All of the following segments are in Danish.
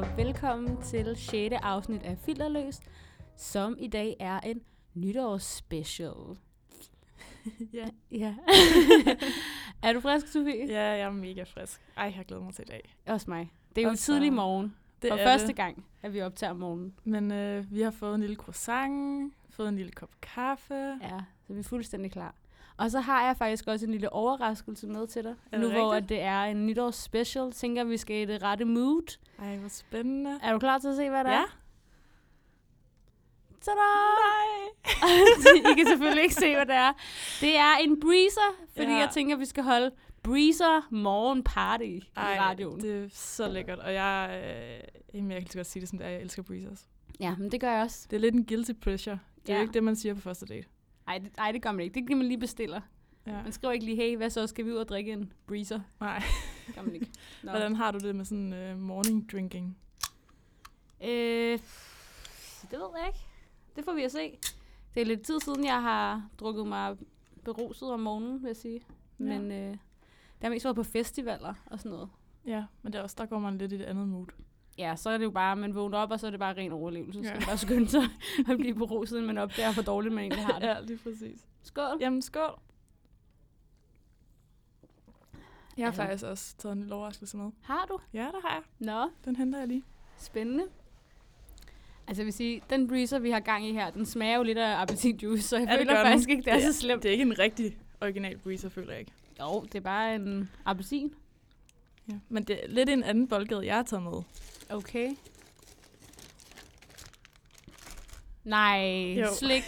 velkommen til 6. afsnit af Filterløst, som i dag er en nytårsspecial. Ja. Ja. er du frisk, Sofie? ja, jeg er mega frisk. Ej, jeg glæder mig til i dag. Også mig. Det er jo Også tidlig mig. morgen, Det og er første det. gang, at vi optager om morgenen. Men øh, vi har fået en lille croissant, fået en lille kop kaffe. Ja, så vi er fuldstændig klar. Og så har jeg faktisk også en lille overraskelse med til dig. det nu hvor rigtigt? at det er en nytårsspecial, tænker jeg, vi skal i det rette mood. Ej, hvor spændende. Er du klar til at se, hvad det Ja. er? Tada! Nej. I kan selvfølgelig ikke se, hvad det er. Det er en breezer, fordi ja. Ja. jeg tænker, vi skal holde breezer morgen party i Ej, radioen. Det... det er så lækkert. Og jeg, øh, jamen, jeg kan lige så godt sige det, som det er. Jeg elsker breezers. Ja, men det gør jeg også. Det er lidt en guilty pleasure. Det er Ja. jo ikke det, man siger på første date. Ej det, ej, det gør man ikke. Det er det, man lige bestiller. Ja. Man skriver ikke lige, hey, hvad så, skal vi ud og drikke en breezer? Nej. Det gør man ikke. Nå. Hvordan har du det med sådan øh, morning drinking? Øh, det ved jeg ikke. Det får vi at se. Det er lidt tid siden, jeg har drukket mig beruset om morgenen, vil jeg sige. Ja. Men øh, det har mest været på festivaler og sådan noget. Ja, men det er også, der går man lidt i et andet mood. Ja, så er det jo bare, at man vågner op, og så er det bare ren overlevelse. Så Ja. man bare skynde sig at blive beruset, men opdager, hvor dårligt man egentlig har det. ja, lige præcis. Skål. Jamen, skål. Jeg har Altså- faktisk også taget en lille overraskelse med. Har du? Ja, det har jeg. Nå, Den henter jeg lige. spændende. Altså jeg vil sige, den breezer, vi har gang i her, den smager jo lidt af appetitjuice, så jeg Ja, det føler gør den. faktisk ikke, det er så slemt. Det er ikke en rigtig original breezer, føler jeg ikke. Jo, det er bare en appelsin. Ja. Men det er lidt en anden boldgade, jeg har taget med. Okay. Nej, jo. Jo. slik.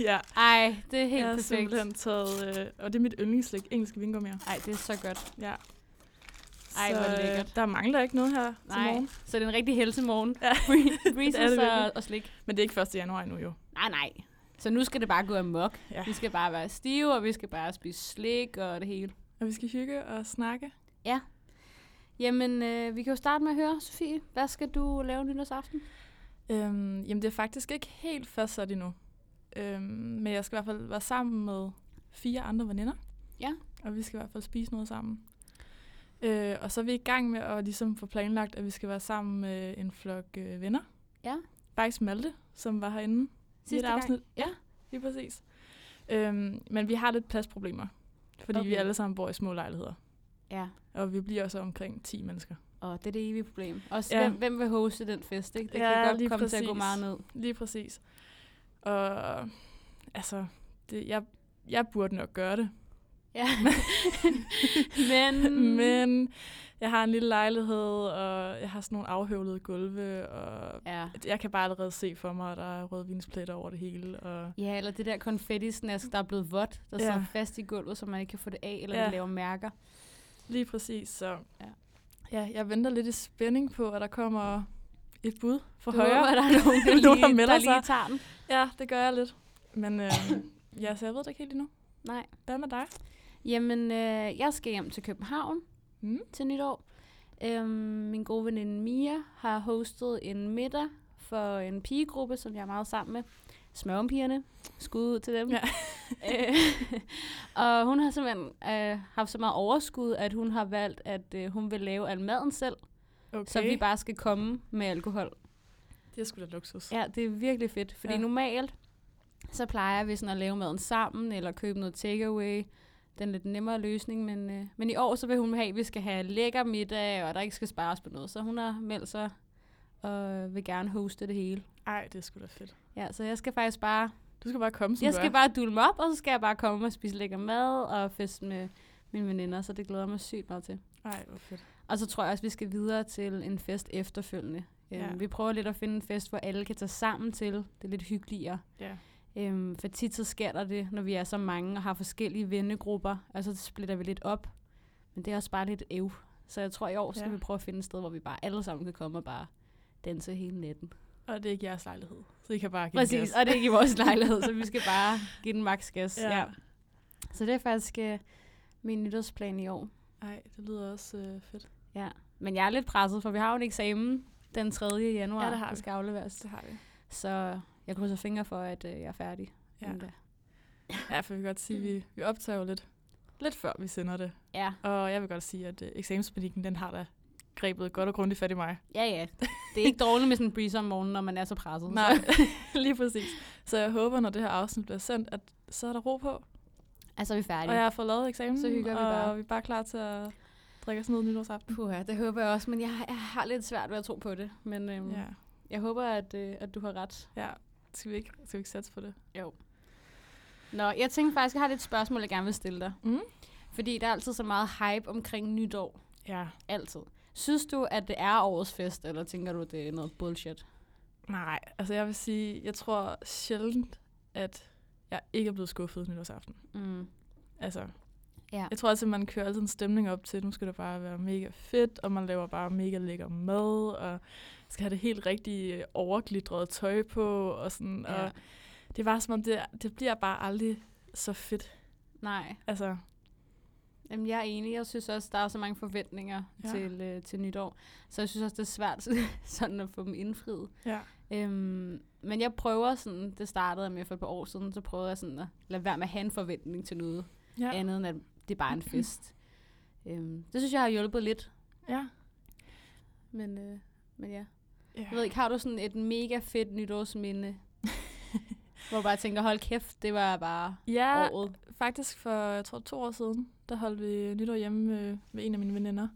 ja, Ej, det er helt jeg har perfekt. simpelthen taget... Øh, og det er mit yndlingsslik, engelske vingummier. Ej, det er så godt. Ja. Ej, hvor øh, lækkert. der mangler ikke noget her til Nej, morgen. så det er en rigtig helsemorgen. Ja. Breezes og, virkelig. og slik. Men det er ikke 1. januar endnu, jo. Nej, nej. Så nu skal det bare gå amok. Ja. Vi skal bare være stive, og vi skal bare spise slik og det hele. Og vi skal hygge og snakke. Jamen, øh, vi kan jo starte med at høre, Sofie. Hvad skal du lave nytårsaften? Øhm, jamen, det er faktisk ikke helt fastsat endnu. Øhm, men jeg skal i hvert fald være sammen med fire andre veninder. Ja. Og vi skal i hvert fald spise noget sammen. Øh, og så er vi i gang med at ligesom få planlagt, at vi skal være sammen med en flok øh, venner. Ja. Faktisk Malte, som var herinde Sidste gang. Ja. ja, lige præcis. Øhm, men vi har lidt pladsproblemer, fordi okay. vi Okay. alle sammen bor i små lejligheder. Ja, Og vi bliver så omkring 10 mennesker. og det er det evige problem. Også ja. Ja. hvem, hvem vil hoste den fest, ikke? Det Ja, kan godt lige komme til at gå præcis. meget ned. Lige præcis. Og altså, det, jeg, jeg burde nok gøre det. Ja. Men... Men jeg har en lille lejlighed, og jeg har sådan nogle afhøvlede gulve, og Ja. jeg kan bare allerede se for mig, at der er rødvinspletter over det hele. Og ja, eller det der konfetti-snask, der er blevet vådt, der Ja. sidder fast i gulvet, så man ikke kan få det af, eller ja. Ja. det laver mærker. lige præcis, så Ja. ja, jeg venter lidt i spænding på, at der kommer et bud fra Du højre. håber, at der er nogen, der Nogen, der lige, melder der lige sig. tager den. Ja, det gør jeg lidt. Men øh, ja, så jeg ved det ikke helt endnu. Nej. Hvad med dig? Jamen, øh, jeg skal hjem til København Mm. til nytår. Øhm, min gode veninde Mia har hostet en middag for en pigegruppe, som jeg er meget sammen med. Smørmpigerne. Skud ud til dem. Ja. Øh, og hun har simpelthen øh, haft så meget overskud, at hun har valgt, at øh, hun vil lave al maden selv, okay. Okay, så vi bare skal komme med alkohol. det er sgu da luksus. Ja, det er virkelig fedt, fordi ja. Ja. normalt, så plejer vi sådan at lave maden sammen, eller købe noget takeaway. Den lidt nemmere løsning, men, øh, men i år så vil hun have, at vi skal have lækker middag, og der ikke skal spares på noget. Så hun har meldt sig og vil gerne hoste det hele. Ej, det er sgu da fedt. Ja, så jeg skal faktisk bare, Du skal bare komme, som jeg du skal er. bare dulme op, og så skal jeg bare komme og spise lækker mad og feste med mine veninder, så det glæder jeg mig sygt meget til. Ej, hvor fedt. Og så tror jeg også, vi skal videre til en fest efterfølgende. Ja. Ja. Vi prøver lidt at finde en fest, hvor alle kan tage sammen til. Det er lidt hyggeligere. Ja. Øhm, for tit så sker der det, når vi er så mange og har forskellige vennegrupper, og så splitter vi lidt op. Men det er også bare lidt ev. Så jeg tror i år skal Ja. vi prøve at finde et sted, hvor vi bare alle sammen kan komme og bare danse hele natten. Og det er ikke jeres lejlighed, så I kan bare give den Præcis, gas. og det er ikke i vores lejlighed, så vi skal bare give den maks gas. Ja. Ja. Ja. Så det er faktisk øh, min nytårsplan i år. Ej, det lyder også øh, fedt. Ja. Men jeg er lidt presset, for vi har jo en eksamen den 3. januar, Ja, det har der vi. skal afleveres. har vi. Så jeg krydser fingre for, at øh, jeg er færdig. øh, Ja, inden da. ja for vi kan godt sige, at vi, vi optager jo lidt, lidt før vi sender det. ja. Og jeg vil godt sige, at øh, eksamenspanikken, den har da grebet godt og grundigt fat i mig. Ja, ja. Det er ikke dårligt med sådan en breeze om morgenen, når man er så presset. Nej, Så. lige præcis. Så jeg håber, når det her afsnit bliver sendt, at så er der ro på. Altså, så er vi færdige. Og jeg har fået lavet eksamen, Så hygger vi og bare. vi er bare klar til at drikke os ned nytårsaften. Puha, det håber jeg også, men jeg, jeg har lidt svært ved at tro på det. Men øhm, ja. Ja, jeg håber, at, øh, at du har ret. ja. Skal vi ikke, skal vi ikke satse på det? Nå, jeg tænkte faktisk, jeg har lidt spørgsmål, jeg gerne vil stille dig. Mm. Fordi der er altid så meget hype omkring nytår. Ja. Altid. Synes du, at det er årets fest, eller tænker du, det er noget bullshit? Nej, altså jeg vil sige, jeg tror sjældent, at jeg ikke er blevet skuffet nytårsaften. Mm. Altså, Ja. jeg tror også, at man kører altid en stemning op til, nu skal det bare være mega fedt, og man laver bare mega lækker mad, og skal have det helt rigtige øh, overglitrede tøj på, og sådan, ja. og det er bare som om, det, er- det bliver bare aldrig så fedt. Nej. Altså, Jamen, jeg er enig. Jeg synes også, der er så mange forventninger ja. Ja. til, øh, til nytår. Så jeg synes også, det er svært sådan at få dem indfriet. ja. Øhm, men jeg prøver sådan, det startede jeg med for et par år siden, så prøvede jeg sådan at lade være med at have en forventning til noget ja. Ja. Mm-hmm. andet, end at det er bare en fest. øhm, det synes jeg har hjulpet lidt. ja. Men, øh, men ja. Jeg ved ja. ikke, har du sådan et mega fedt nytårsminde? hvor du bare tænker, hold kæft, det var bare Ja, året. faktisk for, jeg tror, to år siden, der holdt vi nytår hjemme øh, med en af mine veninder,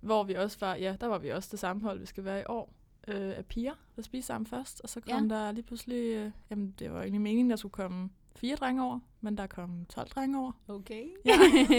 hvor vi også var, ja, der var vi også det samme hold, vi skal være i år, øh, af piger, der spiste sammen først, og så kom ja. der lige pludselig, øh, jamen det var egentlig meningen, der skulle komme fire drenge over, men der kom 12 drenge over. Okay. Ja.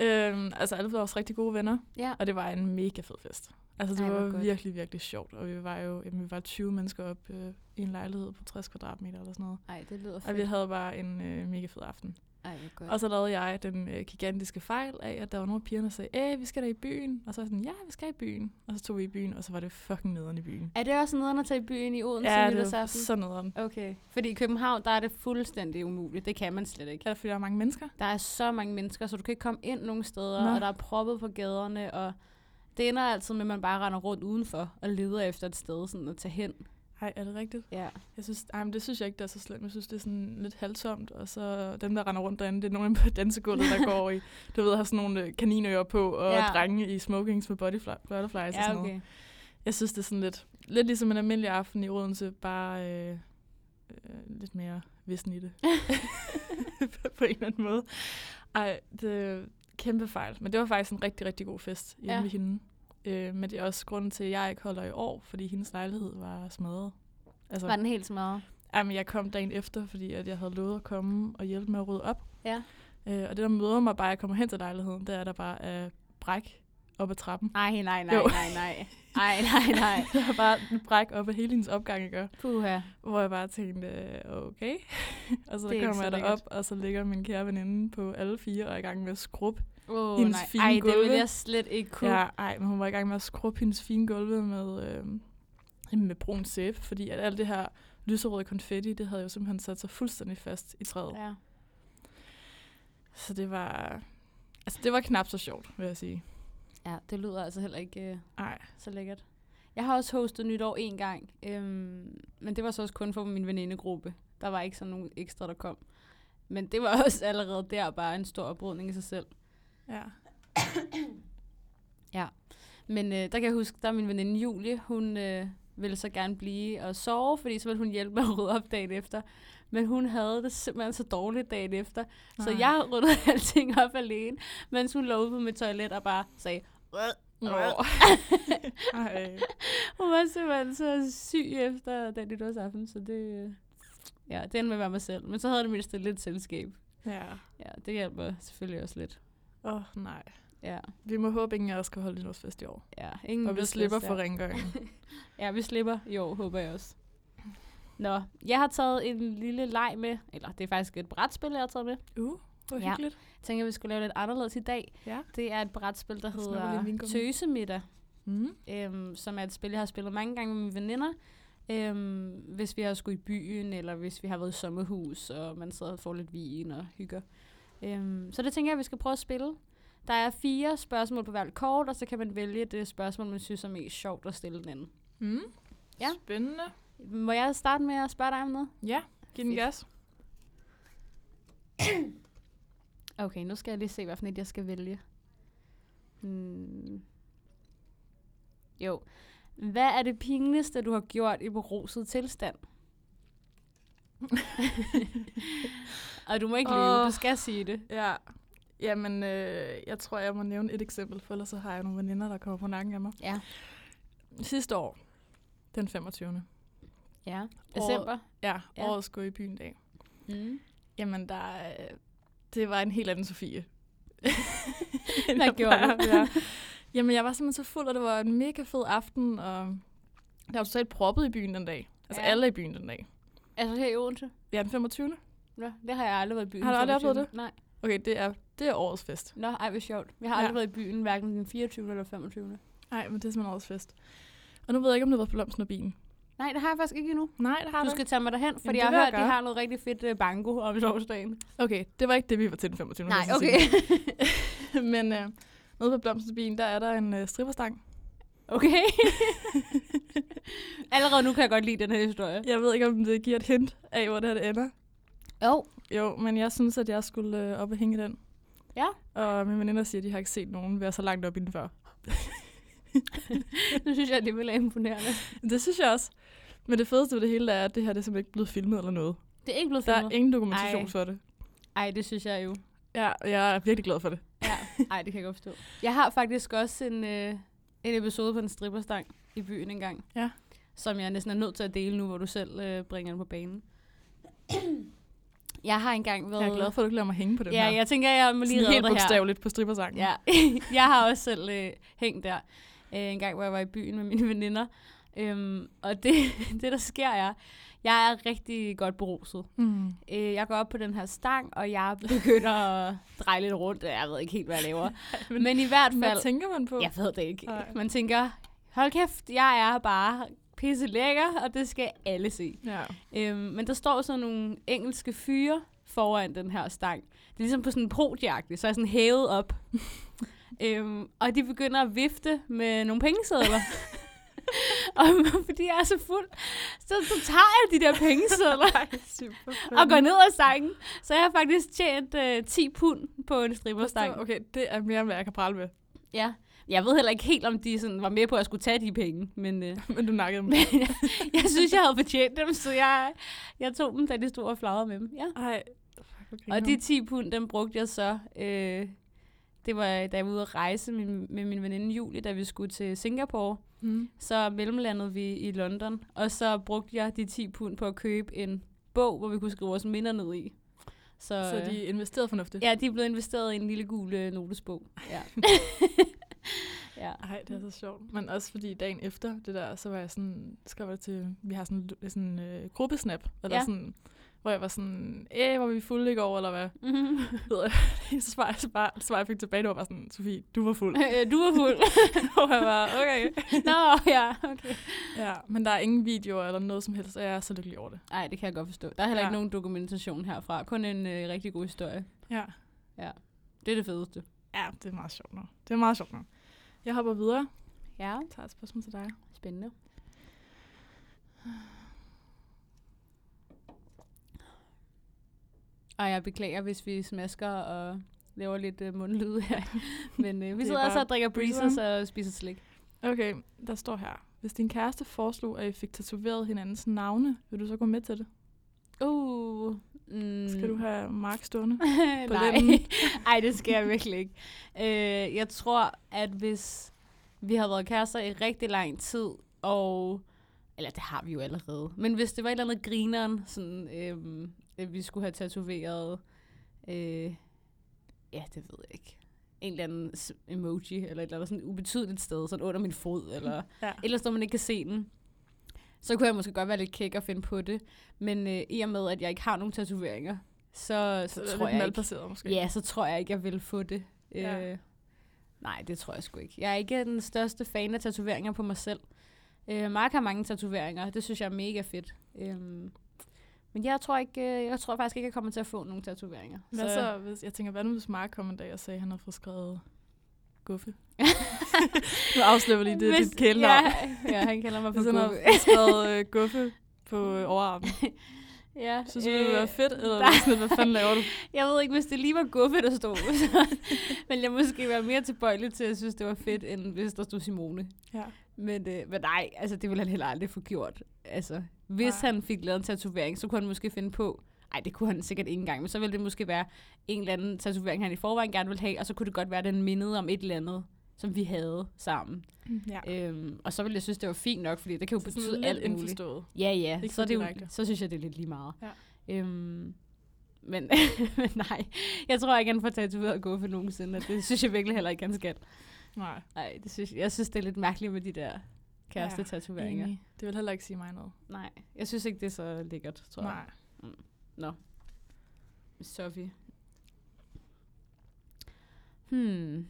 øhm, altså alle blev også rigtig gode venner, ja. og det var en mega fed fest. Altså det Ej, hvor var godt. virkelig, virkelig sjovt, og vi var jo, jamen, vi var 20 mennesker op øh, i en lejlighed på 60 kvadratmeter eller sådan noget, Ej, det lyder og vi fedt. havde bare en øh, mega fed aften. Ej, hvor godt. Og så lavede jeg den øh, gigantiske fejl af, at der var nogle af pigerne, der sagde, æh, vi skal da i byen. Og så var jeg sådan, ja, vi skal i byen. Og så tog vi i byen, og så var det fucking nederen i byen. Er det også nederen at tage i byen i Odense Ja, det var nytårsaften? så nederen. Okay. Fordi i København, der er det fuldstændig umuligt. Det kan man slet ikke. Ja, fordi der er mange mennesker. Der er så mange mennesker, så du kan ikke komme ind nogen steder, Nå. Nå. og der er proppet på gaderne, og det ender altid med, at man bare render rundt udenfor og leder efter et sted sådan at tage hen. Ej, er det rigtigt? Ja. Jeg synes, ej, men det synes jeg ikke, der er så slemt. Jeg synes, det er sådan lidt halvtomt. Og så dem, der render rundt derinde, det er nogen på dansegulvet, der går i, du ved, har sådan nogle øh, kaninører på, og Ja. ja. drenge i smokings med bodyfly- butterflies ja, og Altså sådan noget. Jeg synes, det er sådan lidt, lidt ligesom en almindelig aften i Odense, bare øh, øh, lidt mere vissen i det. på en eller anden måde. Ej, det er kæmpe fejl. Men det var faktisk en rigtig, rigtig god fest hjemme Ja. ja. ved hende. Øh, men det er også grunden til, at jeg ikke holder i år, fordi hendes lejlighed var smadret. Altså, Var den helt smadret? Jamen, jeg kom dagen efter, fordi at jeg havde lovet at komme og hjælpe med at rydde op. Ja. Øh, og det, der møder mig, bare jeg kommer hen til lejligheden, det er, at der bare er bræk op ad trappen. Ej, nej, nej, Jo. nej, nej. Ej, nej, nej. der er bare en bræk op ad hele hendes opgang, ikke? Puha. hvor jeg bare tænkte, øh, okay. og Det så er ikke så kommer lækkert. jeg derop, og så ligger min kære veninde på alle fire og er i gang med at skrubbe. Oh, Hendes nej. fine Ej, det ville gulve. jeg slet ikke kunne. Ja, ej, men hun var i gang med at skrubbe hendes fine gulve med, øh, jamen, med brun sæbe, fordi at alt det her lyserøde konfetti, det havde jo simpelthen sat sig fuldstændig fast i træet. Ja. ja. Så det var... Altså, det var knap så sjovt, vil jeg sige. ja det lyder altså heller ikke... øh, Ej, Så lækkert. Jeg har også hostet nytår en gang, øhm, men det var så også kun for min venindegruppe. Der var ikke sådan nogen ekstra, der kom. Men det var også allerede der bare en stor oprydning i sig selv. ja. Men øh, der kan jeg huske, der min veninde Julie, hun øh, ville så gerne blive og sove, fordi så ville hun hjælpe med at rydde op dagen efter. Men hun havde det simpelthen så dårligt dagen efter, så Nej. jeg ryddede alting op alene, mens hun lå ude på mit toilet og bare sagde, "Rød, Nå. rød." Ej. Hun var simpelthen så syg efter den nytårsaften, så det... øh, Ja, det endte med at være mig selv. Men så havde det mindst et lidt selskab. Ja. Ja, det hjælper selvfølgelig også lidt. Åh, oh, nej. Ja, Vi må håbe, ingen af os skal holde nytårsfest i år. ja. Ingen Og vi lyst, slipper lyst, ja. for rengøringen. Ja, vi slipper i år, håber jeg også. Nå, jeg har taget en lille leg med, eller det er faktisk et brætspil, jeg har taget med. Uh, hvor Ja. hyggeligt. Jeg tænker, vi skulle lave lidt anderledes i dag. Ja. Det er et brætspil, der Jeg snupper lige en hedder vingummi. Tøsemiddag. Mm. øhm, som er et spil, jeg har spillet mange gange med mine veninder. Øhm, hvis vi har skulle i byen, eller hvis vi har været i sommerhus, og man sidder og får lidt vin og hygger. Øhm, så det tænker jeg, at vi skal prøve at spille. Der er fire spørgsmål på hvert kort, og så kan man vælge det spørgsmål, man synes er mest sjovt at stille den anden. Mm. Ja. Spændende. Må jeg starte med at spørge dig om noget? Ja, giv den Fedt. gas. Okay, nu skal jeg lige se, hvad for et jeg skal vælge. Hmm. Jo. Hvad er det pinligste, du har gjort i beruset tilstand? og du må ikke lyve, Åh. du skal sige det. Ja. Jamen, øh, jeg tror, jeg må nævne et eksempel, for ellers så har jeg nogle veninder, der kommer på nakken af mig. Ja. Sidste år, den 25. Ja. December. Ja, Ja. ja. årets gå i byen dag. Mm. Jamen, der, øh, det var en helt anden Sofie. End Hvad jeg gjorde du? plejer. Ja. Jamen, jeg var simpelthen så fuld, og det var en mega fed aften, og der var totalt proppet i byen den dag. Altså, Ja. ja. alle er i byen den dag. Altså her i Odense? Ja, den 25. Nå, det har jeg aldrig været i byen. Har du aldrig 25. oplevet Nej. Okay, det er, det er årets fest. Nå, ej, hvor sjovt. Jeg har aldrig Ja. været i byen, hverken den 24. eller 25. Nej, men det er simpelthen årets fest. Og nu ved jeg ikke, om det var blomsten og bien. Nej, det har jeg faktisk ikke endnu. Nej, det har Du skal tage mig derhen, fordi det jeg vil har jeg hørt, de gøre. har noget rigtig fedt øh, banko om torsdagen. Okay, det var ikke det, vi var til den 25. vil Nej, jeg så okay. sige. men øh, nede på blomsten og bien, der er der en øh, stripperstang. okay. Allerede nu kan jeg godt lide den her historie. Jeg ved ikke, om det giver et hint af, hvor det her det ender. Jo. Jo, men jeg synes, at jeg skulle øh, op og hænge i den. Ja. Og mine veninder siger, at de har ikke set nogen være så langt op inden før. Nu synes jeg, det ville være imponerende. Det synes jeg også. Men det fedeste ved det hele er, at det her det er simpelthen ikke blevet filmet eller noget. Det er ikke blevet Der er filmet. ingen dokumentation Ej. Ej. for det. Ej, det synes jeg jo. Ja, og jeg er virkelig glad for det. Ja, ej, det kan jeg godt forstå. Jeg har faktisk også en, øh, en episode på en stripperstang i byen engang. Ja. Som jeg næsten er nødt til at dele nu, hvor du selv øh, bringer den på banen. jeg har engang været... Jeg er glad for, at du ikke lader mig hænge på den Ja, her. jeg tænker, jeg må lige Sådan redde helt dig her. bogstaveligt på strippersangen. Ja, jeg har også selv øh, hængt der øh, en gang, hvor jeg var i byen med mine veninder. Øhm, og det, det, der sker, er, jeg er rigtig godt beruset. Mm. Øh, jeg går op på den her stang, og jeg begynder at dreje lidt rundt. Jeg ved ikke helt, hvad jeg laver. men- Men i hvert Hvad fald... tænker man på? Jeg ved det ikke. Nej. Man tænker, hold kæft, jeg er bare pisse lækker, og det skal alle se. ja. Øhm, men der står sådan nogle engelske fyre foran den her stang. Det er ligesom på sådan en podieagtig, så er jeg sådan hævet op. øhm, og de begynder at vifte med nogle pengesedler. og fordi jeg er så fuld, så, så tager jeg de der pengesedler Super og går ned ad stangen. Så jeg har faktisk tjent øh, 10 pund på en stripperstang. Okay, det er mere, end hvad jeg kan prale med. Ja. Jeg ved heller ikke helt, om de sådan var med på, at jeg skulle tage de penge, men øh, Men du nakkede mig. jeg, jeg synes, jeg havde fortjent dem, så jeg, jeg tog dem, da de stod og flagrede med dem. Ja. Ej. Fuck, okay, Og de 10 pund, dem brugte jeg så. Øh, det var, da jeg var ude at rejse med, med min veninde Julie, da vi skulle til Singapore. Mm. Så mellemlandede vi i London, og så brugte jeg de 10 pund på at købe en bog, hvor vi kunne skrive vores minder ned i. Så, øh, Så de investerede fornuftigt. Ja, de er blevet investeret i en lille gul øh, notesbog. Ja. ja. Ej, det er så sjovt. Men også fordi dagen efter det der, så var jeg sådan, skal jeg til, vi har sådan en sådan, øh, gruppesnap, eller Ja. ja. sådan, hvor jeg var sådan, æh, var vi fulde i går, eller hvad? Mm-hmm. så svarer jeg, så bare, så svarer jeg fik tilbage, det var bare sådan, Sofie, du var fuld. Øh, du er fuld. og jeg var, okay. Nå, ja, okay. Ja, men der er ingen videoer eller noget som helst, og jeg er så lykkelig over det. Nej, det kan jeg godt forstå. Der er heller ikke Ja. nogen dokumentation herfra. Kun en øh, rigtig god historie. Ja. Det er det fedeste. Ja, det er meget sjovt nu. Det er meget sjovt nu. Jeg hopper videre. Ja, Jeg tager et spørgsmål til dig. spændende. Og jeg beklager, hvis vi smasker og laver lidt øh, mundlyd her. Men øh, vi er sidder bare altså og drikker breezes breezeren. og spiser slik. Okay, der står her. Hvis din kæreste foreslog, at I fik tatoveret hinandens navne, vil du så gå med til det? Uh, mm. Mm. Skal du have Mark stående? på Nej. lænden. Ej, det skal jeg virkelig ikke. Øh, jeg tror, at hvis vi har været kærester i rigtig lang tid, og... Eller det har vi jo allerede. Men hvis det var et eller andet grineren, sådan, øhm, at vi skulle have tatoveret... Øh, ja, det ved jeg ikke. En eller anden s- emoji, eller et eller andet sådan ubetydeligt sted, sådan under min fod, eller Ja. ellers når man ikke kan se den, så kunne jeg måske godt være lidt kæk og finde på det. Men øh, i og med, at jeg ikke har nogen tatoveringer, så, så, så er tror lidt jeg ikke, malplaceret måske. ja, så tror jeg ikke, jeg vil få det. Ja. Øh, nej, det tror jeg sgu ikke. Jeg er ikke den største fan af tatoveringer på mig selv. Øh, Mark har mange tatoveringer, det synes jeg er mega fedt. Øhm, men jeg tror, ikke, øh, jeg tror faktisk ikke, jeg kommer til at få nogen tatoveringer. Hvad så, hvis, jeg tænker, hvad nu hvis Mark kom en dag og sagde, at han havde fået skrevet guffe? Nu afslører vi lige, det er Hvis- dit kælenavn. ja, ja, han kalder mig for Hvis han havde guffe. fået skrevet øh, guffe på øh, overarmen. Ja, Synes du, det ville være fedt, eller Mm. Øh, nej. sådan, hvad fanden laver du? Jeg ved ikke, hvis det lige var guffe, der stod. så ville jeg måske være mere tilbøjelig til at synes, det var fedt, end hvis der stod Simone. Ja. Men, øh, men nej, altså, det ville han heller aldrig få gjort. Altså, hvis Nej. nej. han fik lavet en tatovering, så kunne han måske finde på... Nej, det kunne han sikkert ikke engang, men så ville det måske være en eller anden tatovering, han i forvejen gerne ville have, og så kunne det godt være, at den mindede om et eller andet, som vi havde sammen. ja. Øhm, og så ville jeg synes, det var fint nok, fordi det kan jo Så sådan betyde lidt alt muligt. indforstået. Ja, ja. Ikke så, er så det jo, direkte. så synes jeg, det er lidt lige meget. Ja. Øhm, men, men nej, jeg tror ikke, han får tatoveret guffe nogensinde, og det synes jeg virkelig heller ikke, han skal. Nej, Nej, det synes, jeg synes, det er lidt mærkeligt med de der kæreste tatoveringer. enig. Det vil heller ikke sige mig noget. Nej, jeg synes ikke, det er så lækkert, tror jeg. Nej. Sophie. Hmm.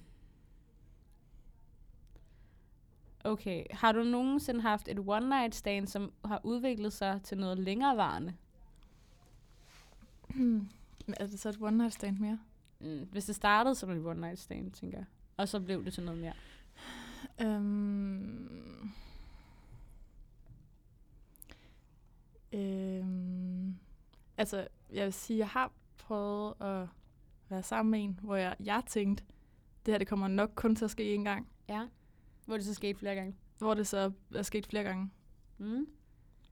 Okay, har du nogensinde haft et one night stand, som har udviklet sig til noget længerevarende? Men er det så et one night stand mere? Mm, hvis det startede som en one night stand, tænker jeg. Og så blev det til noget mere. Øhm. Øhm. Altså, jeg vil sige, jeg har prøvet at være sammen med en, hvor jeg, jeg tænkte, det her det kommer nok kun til at ske én gang. Ja. Hvor det så skete flere gange. Hvor det så er sket flere gange. Mm.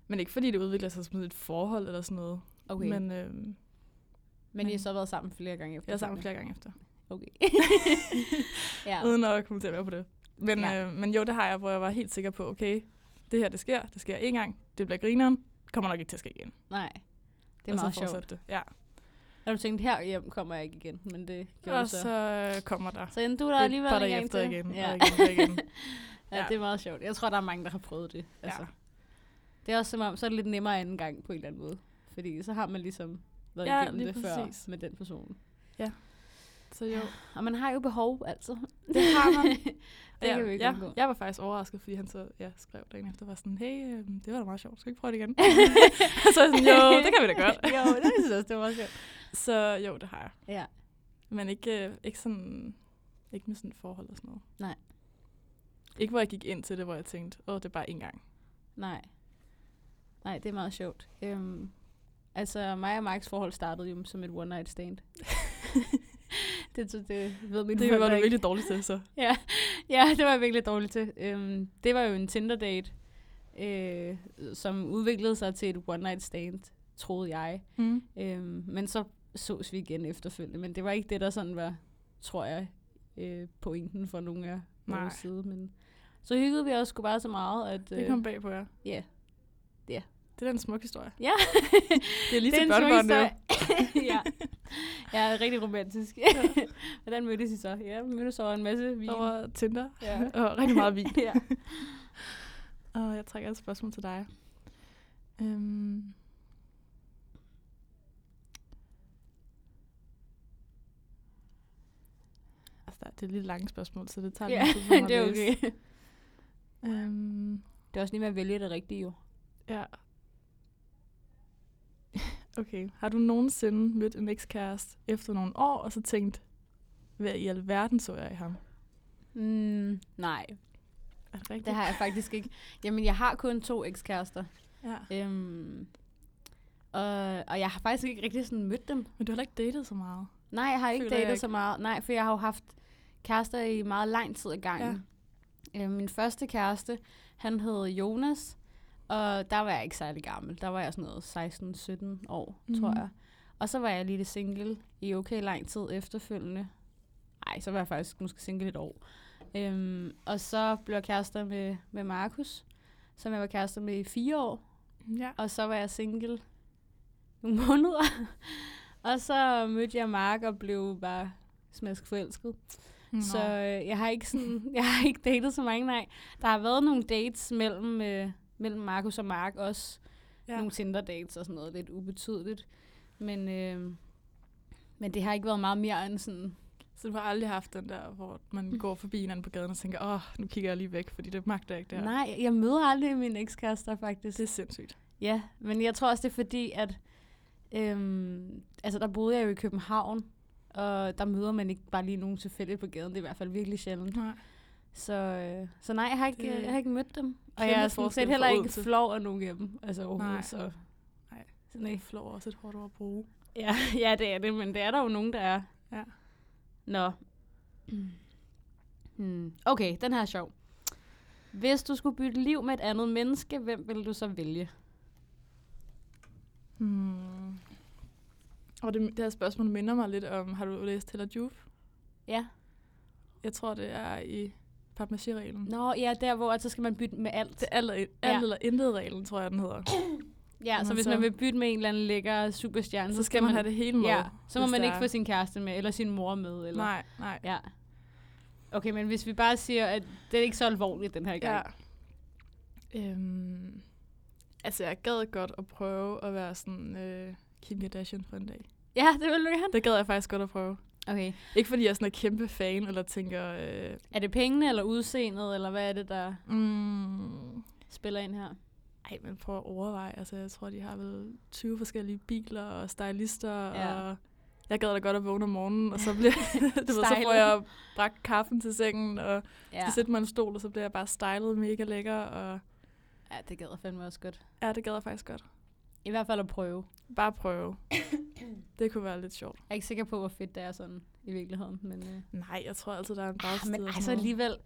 Men ikke fordi det udvikler sig som et forhold eller sådan noget. Okay. Men, Men øhm, men I har så været sammen flere gange efter. jeg er sammen flere gange efter. Okay. ja. uden at kommentere mere på det. Men, Ja. ja. øh, men jo, det har jeg, hvor jeg var helt sikker på, okay, det her det sker, det sker én gang, det bliver grineren, kommer nok ikke til at ske igen. Nej. Det er og meget så sjovt. fortsatte det. Ja. Har du tænkt, her hjem kommer jeg ikke igen, men det gjorde Og du så. så øh, kommer der Så endte du der alligevel par en dage gang efter til. igen, Ja. og igen, og igen. ja. Ja. det er meget sjovt. Jeg tror, der er mange, der har prøvet det. Altså. Ja. Det er også som om, så er det lidt nemmere anden gang på en eller anden måde. Fordi så har man ligesom været Ja, igennem lige det præcis. præcis. før med den person. Så jo, Og man har jo behov, altså. det har man. det ja, kan vi ikke ja, undgå. jeg var faktisk overrasket, fordi han så ja, skrev dagen efter, var sådan, hey, øh, det var da meget sjovt, skal vi ikke prøve det igen? så er jeg Altså, sådan, jo, det kan vi da godt. jo, det synes jeg også, det var meget sjovt. Så jo, det har jeg. Ja. Men ikke, øh, ikke, sådan, ikke med sådan et forhold og sådan noget. Nej. Ikke hvor jeg gik ind til det, hvor jeg tænkte, åh, det er bare én gang. Nej. Nej, det er meget sjovt. Øhm, altså, mig og Marks forhold startede jo som et one-night stand. det, det, det ved min Det var forældre du ikke. virkelig dårlig til, så. Ja, ja, det var jeg virkelig dårlig til. Øhm, det var jo en Tinder-date, øh, som udviklede sig til et one-night stand, troede jeg. Mm. Øhm, men så sås vi igen efterfølgende. Men det var ikke det, der sådan var, tror jeg, øh, pointen for nogen af Nej. vores side. Men så hyggede vi os sgu bare så meget, at... øh, Det kom bag på jer. Ja. Ja. Det er da en smuk historie. Ja. Det er lige Det er til en børnebørn, det sjov er jo. historie. ja. Jeg er rigtig romantisk. Hvordan mødtes I så? Ja, vi mødtes over en masse vin. Over Tinder. Ja. Og rigtig meget vin. ja. Og jeg trækker et spørgsmål til dig. Øhm. Altså, der- det er et lidt langt spørgsmål, så det tager ja. lidt tid for mig at det er læse. okay. Øhm. Det er også lige med at vælge det rigtige, jo. Ja. Okay. Har du nogensinde mødt en ekskæreste efter nogle år, og så tænkt, hvad i alverden så jeg i ham? Mm, nej, Er det rigtigt? det har jeg faktisk ikke. Jamen, jeg har kun to ekskærester. Ja. Øhm, og, og jeg har faktisk ikke rigtig sådan mødt dem. Men du har heller ikke datet så meget. Nej, jeg har ikke Føler Føler datet jeg ikke. så meget. Nej, for jeg har jo haft kærester i meget lang tid ad gangen. Ja. Øh, min første kæreste, han hed Jonas, og der var jeg ikke særlig gammel. Der var jeg sådan noget 16-17 år, mm. tror Mhm. jeg. Og så var jeg lige single i okay lang tid efterfølgende. Nej, så var jeg faktisk måske single et år. Øhm, og så blev jeg kærester med, med Markus, som jeg var kærester med i fire år. Ja. Og så var jeg single nogle måneder. og så mødte jeg Mark og blev bare smask forelsket. Nå. Så øh, jeg har ikke sådan, jeg har ikke datet så mange, nej. Der har været nogle dates mellem, øh, mellem Markus og Mark også. Ja. ja. Nogle Tinder dates og sådan noget, lidt ubetydeligt. Men, øh, men det har ikke været meget mere end sådan, så du har aldrig haft den der, hvor Mm. man går forbi hinanden på gaden og tænker, åh, oh, nu kigger jeg lige væk, fordi det magter jeg ikke det ja. her. nej, jeg møder aldrig mine ekskærester faktisk. Det er sindssygt. Ja, men jeg tror også, det er fordi, at øhm, altså, der boede jeg jo i København, og der møder man ikke bare lige nogen tilfældigt på gaden. Det er i hvert fald virkelig sjældent. Nej. Så, øh, så nej, jeg har, ikke, Det- jeg har ikke mødt dem. Og Kæmpe jeg er sådan forskel set fra heller ikke Odense. flov af nogen af dem. Altså overhovedet. Nej. Så. Nej. så Nej. Flår er også et hårdt ord at bruge. Ja, ja, det er det, men det er der jo nogen, der er. Ja. Nå. Hmm. Okay, den her er sjov. Hvis du skulle bytte liv med et andet menneske, hvem ville du så vælge? Hmm. Og det, det her spørgsmål minder mig lidt om, har du læst Teller Juve? Ja. Jeg tror, det er i papmaché-reglen. Nå, ja, der hvor at så skal man bytte med alt. Det er alt, alt Ja. eller intet-reglen, tror jeg, den hedder. Ja, så Nå, hvis så- man vil bytte med en eller anden lækker superstjerne, Altså, Så skal man have det hele med. Ja, så må hvis man der ikke er- få sin kæreste med, eller sin mor med. Eller. Nej, nej. Ja. Okay, men hvis vi bare siger, at det er ikke så alvorligt den her gang. Ja. Øhm, altså, jeg gad godt at prøve at være sådan øh, Kim Kardashian for en dag. ja det vil du gerne. Det gad jeg faktisk godt at prøve. Okay. Ikke fordi jeg er sådan en kæmpe fan, eller tænker... Øh, Er det pengene eller udseendet, eller hvad er det, der mm, spiller ind her? ej, men prøv at overveje. Altså, jeg tror, de har vel 20 forskellige biler og stylister, Ja. ja. og jeg gad da godt at vågne om morgenen, og så, bliver, du ved, så får Stylet. jeg bragt kaffen til sengen, og Ja, skal sætte mig i en stol, og så bliver jeg bare stylet mega lækker, og ja det gad jeg fandme også godt. ja, det gad jeg faktisk godt. I hvert fald at prøve. Bare prøve. det kunne være lidt sjovt. Jeg er ikke sikker på, hvor fedt det er sådan i virkeligheden. Men, øh. Nej, jeg tror altid, der er en bagside. men og altså sådan noget. alligevel,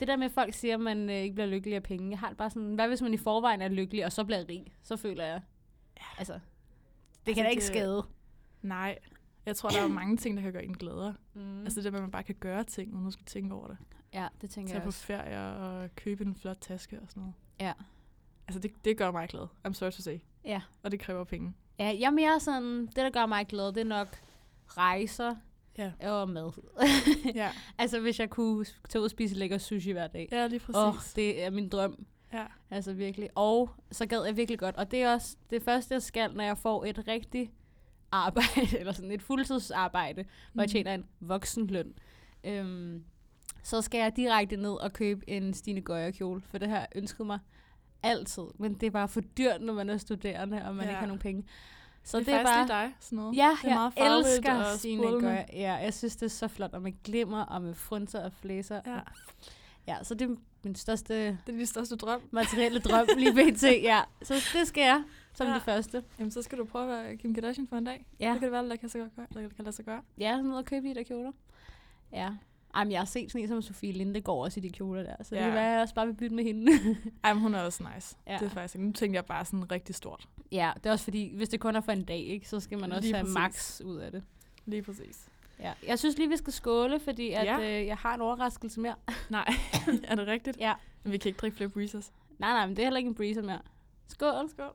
det der med, at folk siger, at man øh, ikke bliver lykkelig af penge. Jeg har det bare sådan, hvad hvis man i forvejen er lykkelig, og så bliver rig? Så føler jeg, altså, det kan da ikke Altså, det- skade. Nej, jeg tror, der er jo mange ting, der kan gøre en gladere. Mm. Mm. Altså det der med, at man bare kan gøre ting, uden at skulle tænke over det. ja, det tænker Tage jeg på også. ferie og købe en flot taske og sådan noget. Ja. Altså det, det gør mig glad. I'm sorry to say. Ja. Og det kræver penge. Ja, jeg er mere sådan, det der gør mig glad, det er nok rejser Ja. og mad. ja. altså, hvis jeg kunne s- tage ud og spise lækker sushi hver dag. Ja, lige Åh, oh, præcis. det er min drøm. Ja. Altså virkelig. Og så gad jeg virkelig godt. Og det er også det første, jeg skal, når jeg får et rigtigt arbejde, eller sådan et fuldtidsarbejde, hvor jeg Mm. tjener en voksenløn. Øhm, så skal jeg direkte ned og købe en Stine Gøjer kjole, for det har jeg ønsket mig altid. Men det er bare for dyrt, når man er studerende, og man Ja. ikke har nogen penge. Så det er, det er faktisk bare... lige dig, sådan noget. Ja, det er jeg meget farligt elsker og Stine sprudlende. Gøjer. Ja, jeg synes, det er så flot, og med glimmer, og med frunser og flæser. Ja. og- ja, så det er min største Det er din største drøm. materielle drøm lige pt. Ja, så det skal jeg som ja. Ja. det første. Jamen, så skal du prøve at være Kim Kardashian for en dag. Ja, Det kan det være, det kan, så godt gøre, eller det kan lade sig gøre. ja sådan noget at købe de der kjoler. Ja. Ej, men jeg har set sådan en som Sofie Linde går også i de kjoler der, så ja. det Ja. kan være, at jeg også bare vil bytte med hende. Ej, men hun er også nice. Ja. Ja. Det er faktisk ikke. Nu tænkte jeg bare sådan rigtig stort. ja, det er også fordi, hvis det kun er for en dag, ikke, så skal man også Lige have præcis. max ud af det. Lige præcis. Ja. Jeg synes lige, vi skal skåle, fordi at, ja. Ja. øh, jeg har en overraskelse mere. Nej, er det rigtigt? Ja. Men Vi kan ikke drikke flere breezers. Nej, nej, men det er heller ikke en breezer mere. Skål. Skål.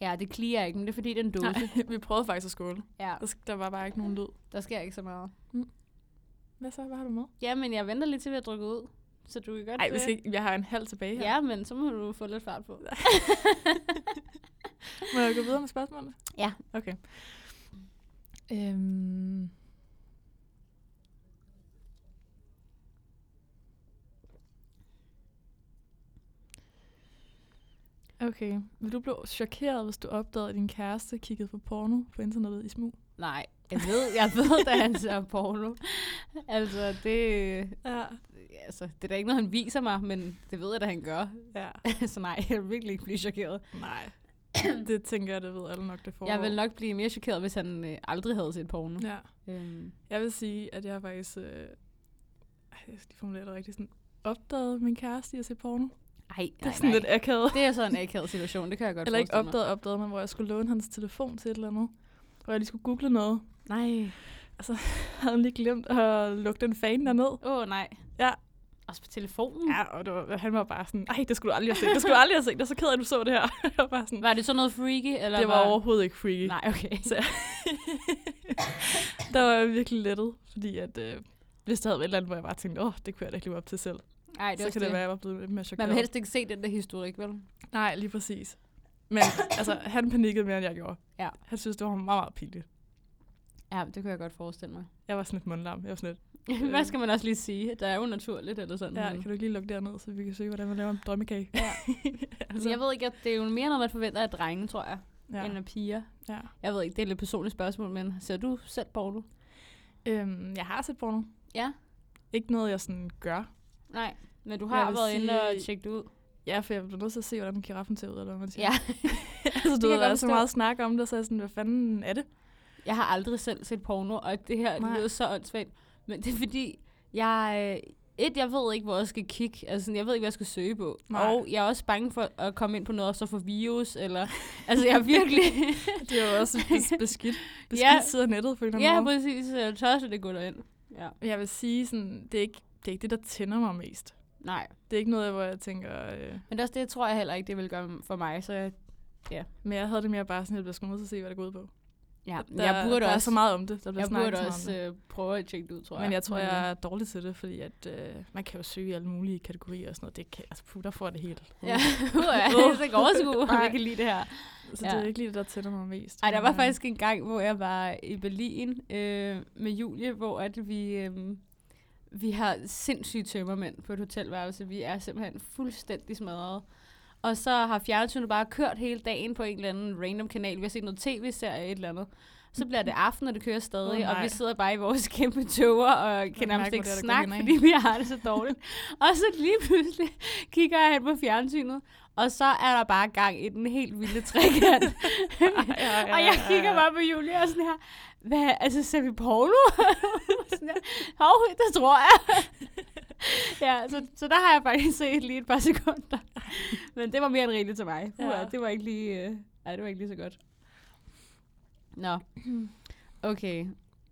Ja, det kliger ikke, men det er fordi, den dose. Nej. Nej, vi prøvede faktisk at skåle. Ja, Der sk- Der var bare ikke nogen lyd. der sker ikke så meget. Hvad så? Hvad har du med? Ja, men jeg venter lidt til, vi har drukket ud. Så du kan godt... Nej, vi øh, skal ikke. Jeg har en halv tilbage her. Ja, men så må du få lidt fart på. Må jeg gå videre med spørgsmålene? Ja. Okay. Øhm. Okay. Vil du blive chokeret, hvis du opdagede, at din kæreste kiggede på porno på internettet i smug? Nej, jeg ved, jeg ved, da han ser porno. Altså, det, Ja. altså, det er da ikke noget, han viser mig, men det ved jeg, at han gør. ja. så nej, jeg vil virkelig ikke blive chokeret. Nej. det tænker jeg, det ved alle nok, det får. Jeg vil nok blive mere chokeret, hvis han øh, aldrig havde set porno. Ja. Øhm, Jeg vil sige, at jeg faktisk... Øh, ej, jeg skal lige formulere det rigtigt. Sådan, opdagede min kæreste i at se porno. ej, Det er nej, sådan nej. lidt akavet. Det er sådan en akavet situation, det kan jeg godt Eller ikke forestille opdagede, opdagede, men hvor jeg skulle låne hans telefon til et eller andet. Hvor jeg lige skulle google noget. mig. Nej. Havde han lige glemt at lukke den fan derned. Åh, oh, nej. Ja. Også på telefonen? Ja, og det var, han var bare sådan, nej, det skulle du aldrig have set. Det skulle du aldrig have set. Jeg er så ked af, at du så det her. Jeg var bare sådan, Var det sådan noget freaky? Eller det var overhovedet ikke freaky. Nej, okay. Så der var jeg virkelig lettet, fordi at, øh, hvis der havde været et eller andet, hvor jeg bare tænkte, åh, det kunne jeg da ikke leve op til selv. Nej, det er så også kan det. det være, at jeg var blevet lidt mere chokeret. Man vil helst ikke se den der historik, vel? Nej, lige præcis. Men altså, han panikkede mere, end jeg gjorde. Ja. Han synes, det var meget, meget pinligt. Ja, det kunne jeg godt forestille mig. Jeg var sådan lidt mundlam. Jeg var sådan lidt, Hvad skal man også lige sige? Der er jo naturligt eller sådan. ja, men- kan du ikke lige lukke derned, så vi kan se, hvordan man laver en drømmekage? Ja. altså. Altså. Jeg ved ikke, at det er jo mere noget, man forventer af drenge, tror jeg, ja. end ja. af piger. ja. Jeg ved ikke, det er et lidt personligt spørgsmål, men ser du selv porno? Øhm, jeg har set porno. Ja. Ikke noget, jeg sådan gør. Nej, men du Jeg har vil været inde og sige- tjekket det ud. Ja, for jeg blev nødt til at se, hvordan giraffen ser ud, eller hvad man siger. Ja. altså, du kan ved, jeg der er godt så forstå. meget snak om det, så er jeg sådan, hvad fanden er det? Jeg har aldrig selv set porno, og det her Nej. Nej. lyder så åndssvagt. Men det er fordi, jeg... øh, Et, jeg ved ikke, hvor jeg skal kigge. Altså, sådan, jeg ved ikke, hvad jeg skal søge på. Nej. Nej. Og jeg er også bange for at komme ind på noget, og så få virus, eller... altså, jeg er virkelig... Det er jo også bes- beskidt. Beskidt Ja. sidder nettet på en eller anden ja, måde. præcis. Jeg tør så det går derind. Ja. Jeg vil sige, sådan, det, er ikke, det er ikke det, der tænder mig mest. Nej. Det er ikke noget, hvor jeg tænker... Øh... Men det, er også, det tror jeg heller ikke, det vil gøre for mig. Så jeg, Men jeg havde det mere bare sådan, at jeg blev sgu nødt til at se, hvad det går ud på. ja, Der, jeg burde der er også, så meget om det. Der bliver jeg snakket burde så meget også om det. øh, prøve at tjekke det ud, tror jeg. Men jeg tror, jeg er dårlig til det, fordi at, øh, man kan jo søge i alle mulige kategorier og sådan noget. Det kan, altså, puh, der får jeg det helt. Ja, uh, jeg kan slet ikke overskue, om Nej. jeg kan lide det her. Så det er Ja. ikke lige det, der tænder mig mest. Ej, der Men, var øh, faktisk en gang, hvor jeg var i Berlin øh, med Julie, hvor at vi, øh, vi har sindssyge tømmermænd på et hotelværelse. Vi er simpelthen fuldstændig smadret. Og så har fjernsynet bare kørt hele dagen på en eller anden random kanal. Vi har set noget tv-serie et eller andet. Så bliver det aften, og det kører Mm. Åh, stadig, nej. og vi sidder bare i vores kæmpe tøver og kan mærke, hvor nærmest ikke det er, der går snakke, henad. fordi vi har det så dårligt. og så lige pludselig kigger jeg hen på fjernsynet, og så er der bare gang i den helt vilde trekant. og jeg kigger bare på Julia og sådan her, hvad, altså ser vi porno? sådan her, Hov, det tror jeg. ja, så, så der har jeg faktisk set lige et par sekunder. Men det var mere end rigeligt til mig. Ja. Ja. det var ikke lige, øh, ej, det var ikke lige så godt. Nå, okay.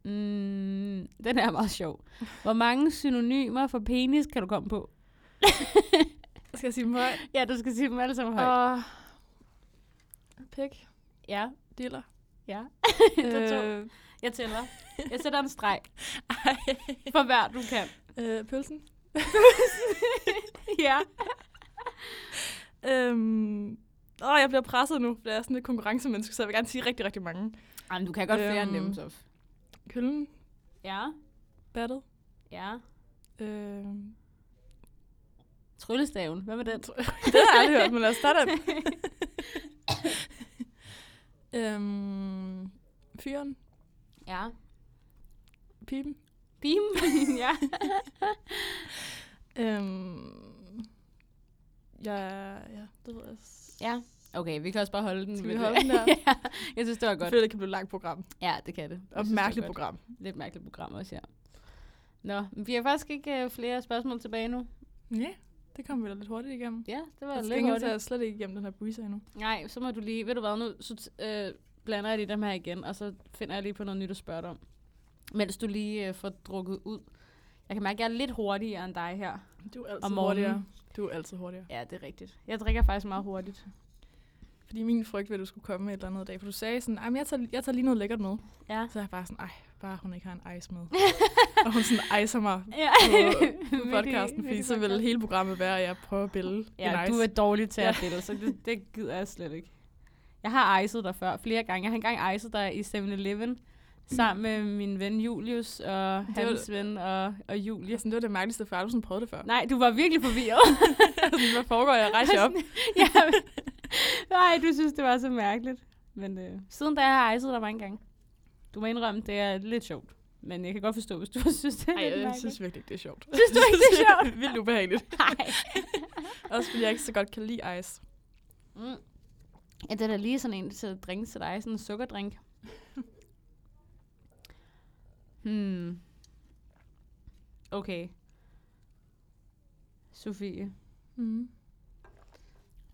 Mm, den her er meget sjov. Hvor mange synonymer for penis kan du komme på? Skal jeg sige dem højt? Ja, du skal sige dem alle sammen højt. Og... Pik. Ja, Diller. ja. Det er to. øh, Jeg tæller. Jeg sætter en streg for hver, du kan. øh, pølsen. ja. Øhm, åh, jeg bliver presset nu, for jeg er sådan lidt konkurrencemenneske, så jeg vil gerne sige rigtig, rigtig mange. Jamen, du kan godt flere Øhm. end dem, Sof. Køllen, Ja, battet, ja. øh, Tryllestaven, hvad med den? det har jeg aldrig hørt, men lad os starte den. øhm, fyren, Ja. pipen, Beam, ja. øhm, ja, ja, det ved jeg. s- Ja. Okay, vi kan også bare holde den. Skal vi ved holde det. den der? ja. Jeg synes, det var Jeg godt. føler, det kan blive et langt program. Ja, det kan det. Jeg Og synes, det et var mærkeligt godt. program. Lidt mærkeligt program også, ja. Nå, men vi har faktisk ikke øh, flere spørgsmål tilbage nu. Ja, det kommer vi da lidt hurtigt igennem. Ja, det var Jeg lidt skal hurtigt. jeg slet ikke igennem den her buisa endnu. Nej, så må du lige... Ved du hvad, nu så, t- øh, blander jeg lige dem her igen, og så finder jeg lige på noget nyt at spørge dig om. Mens du lige øh, får drukket ud. Jeg kan mærke, at jeg er lidt hurtigere end dig her. Du er Om altid morgenen. hurtigere. Du er altid hurtigere. Ja, det er rigtigt. Jeg drikker faktisk meget hurtigt. Fordi min frygt ved, at du skulle komme med et eller andet i dag, for du sagde sådan, "Ej, men jeg tager, jeg tager lige noget lækkert med. Ja. Så er jeg bare sådan, ej, bare hun ikke har en ice med. og hun sådan icer mig ja. på podcasten, fordi så vil hele programmet være, at jeg prøver at bælge Ja, en ice. du er dårlig til at Ja. billede, så det, det gider jeg slet ikke. Jeg har ejset dig før, flere gange. Jeg har engang ejset dig i 7-Eleven, sammen med min ven Julius og Det var- hans ven og, og Julie. Ja, sådan, det var det mærkeligste, for jeg har aldrig sådan prøvet det før. Nej, du var virkelig forvirret. Sådan, Hvad foregår jeg? Rejser op. ja. Nej, du synes, det var så mærkeligt. Men øh, siden da jeg har ejset dig mange gange. Du må indrømme, det er lidt sjovt. Men jeg kan godt forstå, hvis du synes, det er Ej, lidt jeg mærkeligt. synes virkelig ikke, det er sjovt. Synes du ikke, det er sjovt? Vildt ubehageligt. Nej. Også fordi jeg ikke så godt kan lide ice. Mm. Ja, det er da lige sådan en til drink til dig, sådan en sukkerdrink. hmm. Okay. Sofie, Mm.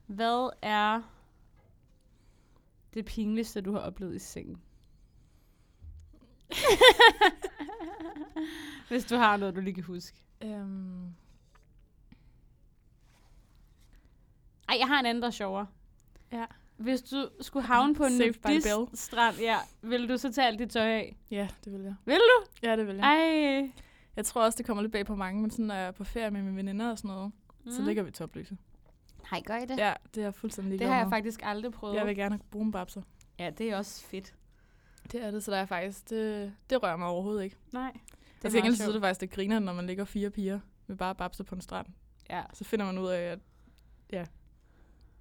hvad er det pinligste, du har oplevet i sengen? Hvis du har noget, du lige kan huske. Øhm, Ej, jeg har en anden, der er sjovere. Ja. Hvis du skulle havne på en Saved by the Bell. nudist-strand, ja, ville du så tage alt dit tøj af? ja, det vil jeg. Vil du? Ja, det vil jeg. Ej. Jeg tror også, det kommer lidt bag på mange, men sådan, når jeg er på ferie med mine veninder og sådan noget, mm. så ligger vi topløse. Nej, gør I det? Ja, Ja, det er jeg fuldstændig det ligeglad har jeg med. faktisk aldrig prøvet. Jeg vil gerne have brunbabser. Ja, det er også fedt. Det er det, så der er faktisk, det, det rører mig overhovedet ikke. Nej. Det er til gengæld så er det faktisk, det griner, når man ligger fire piger med bare babser på en strand. Ja. Så finder man ud af, at ja,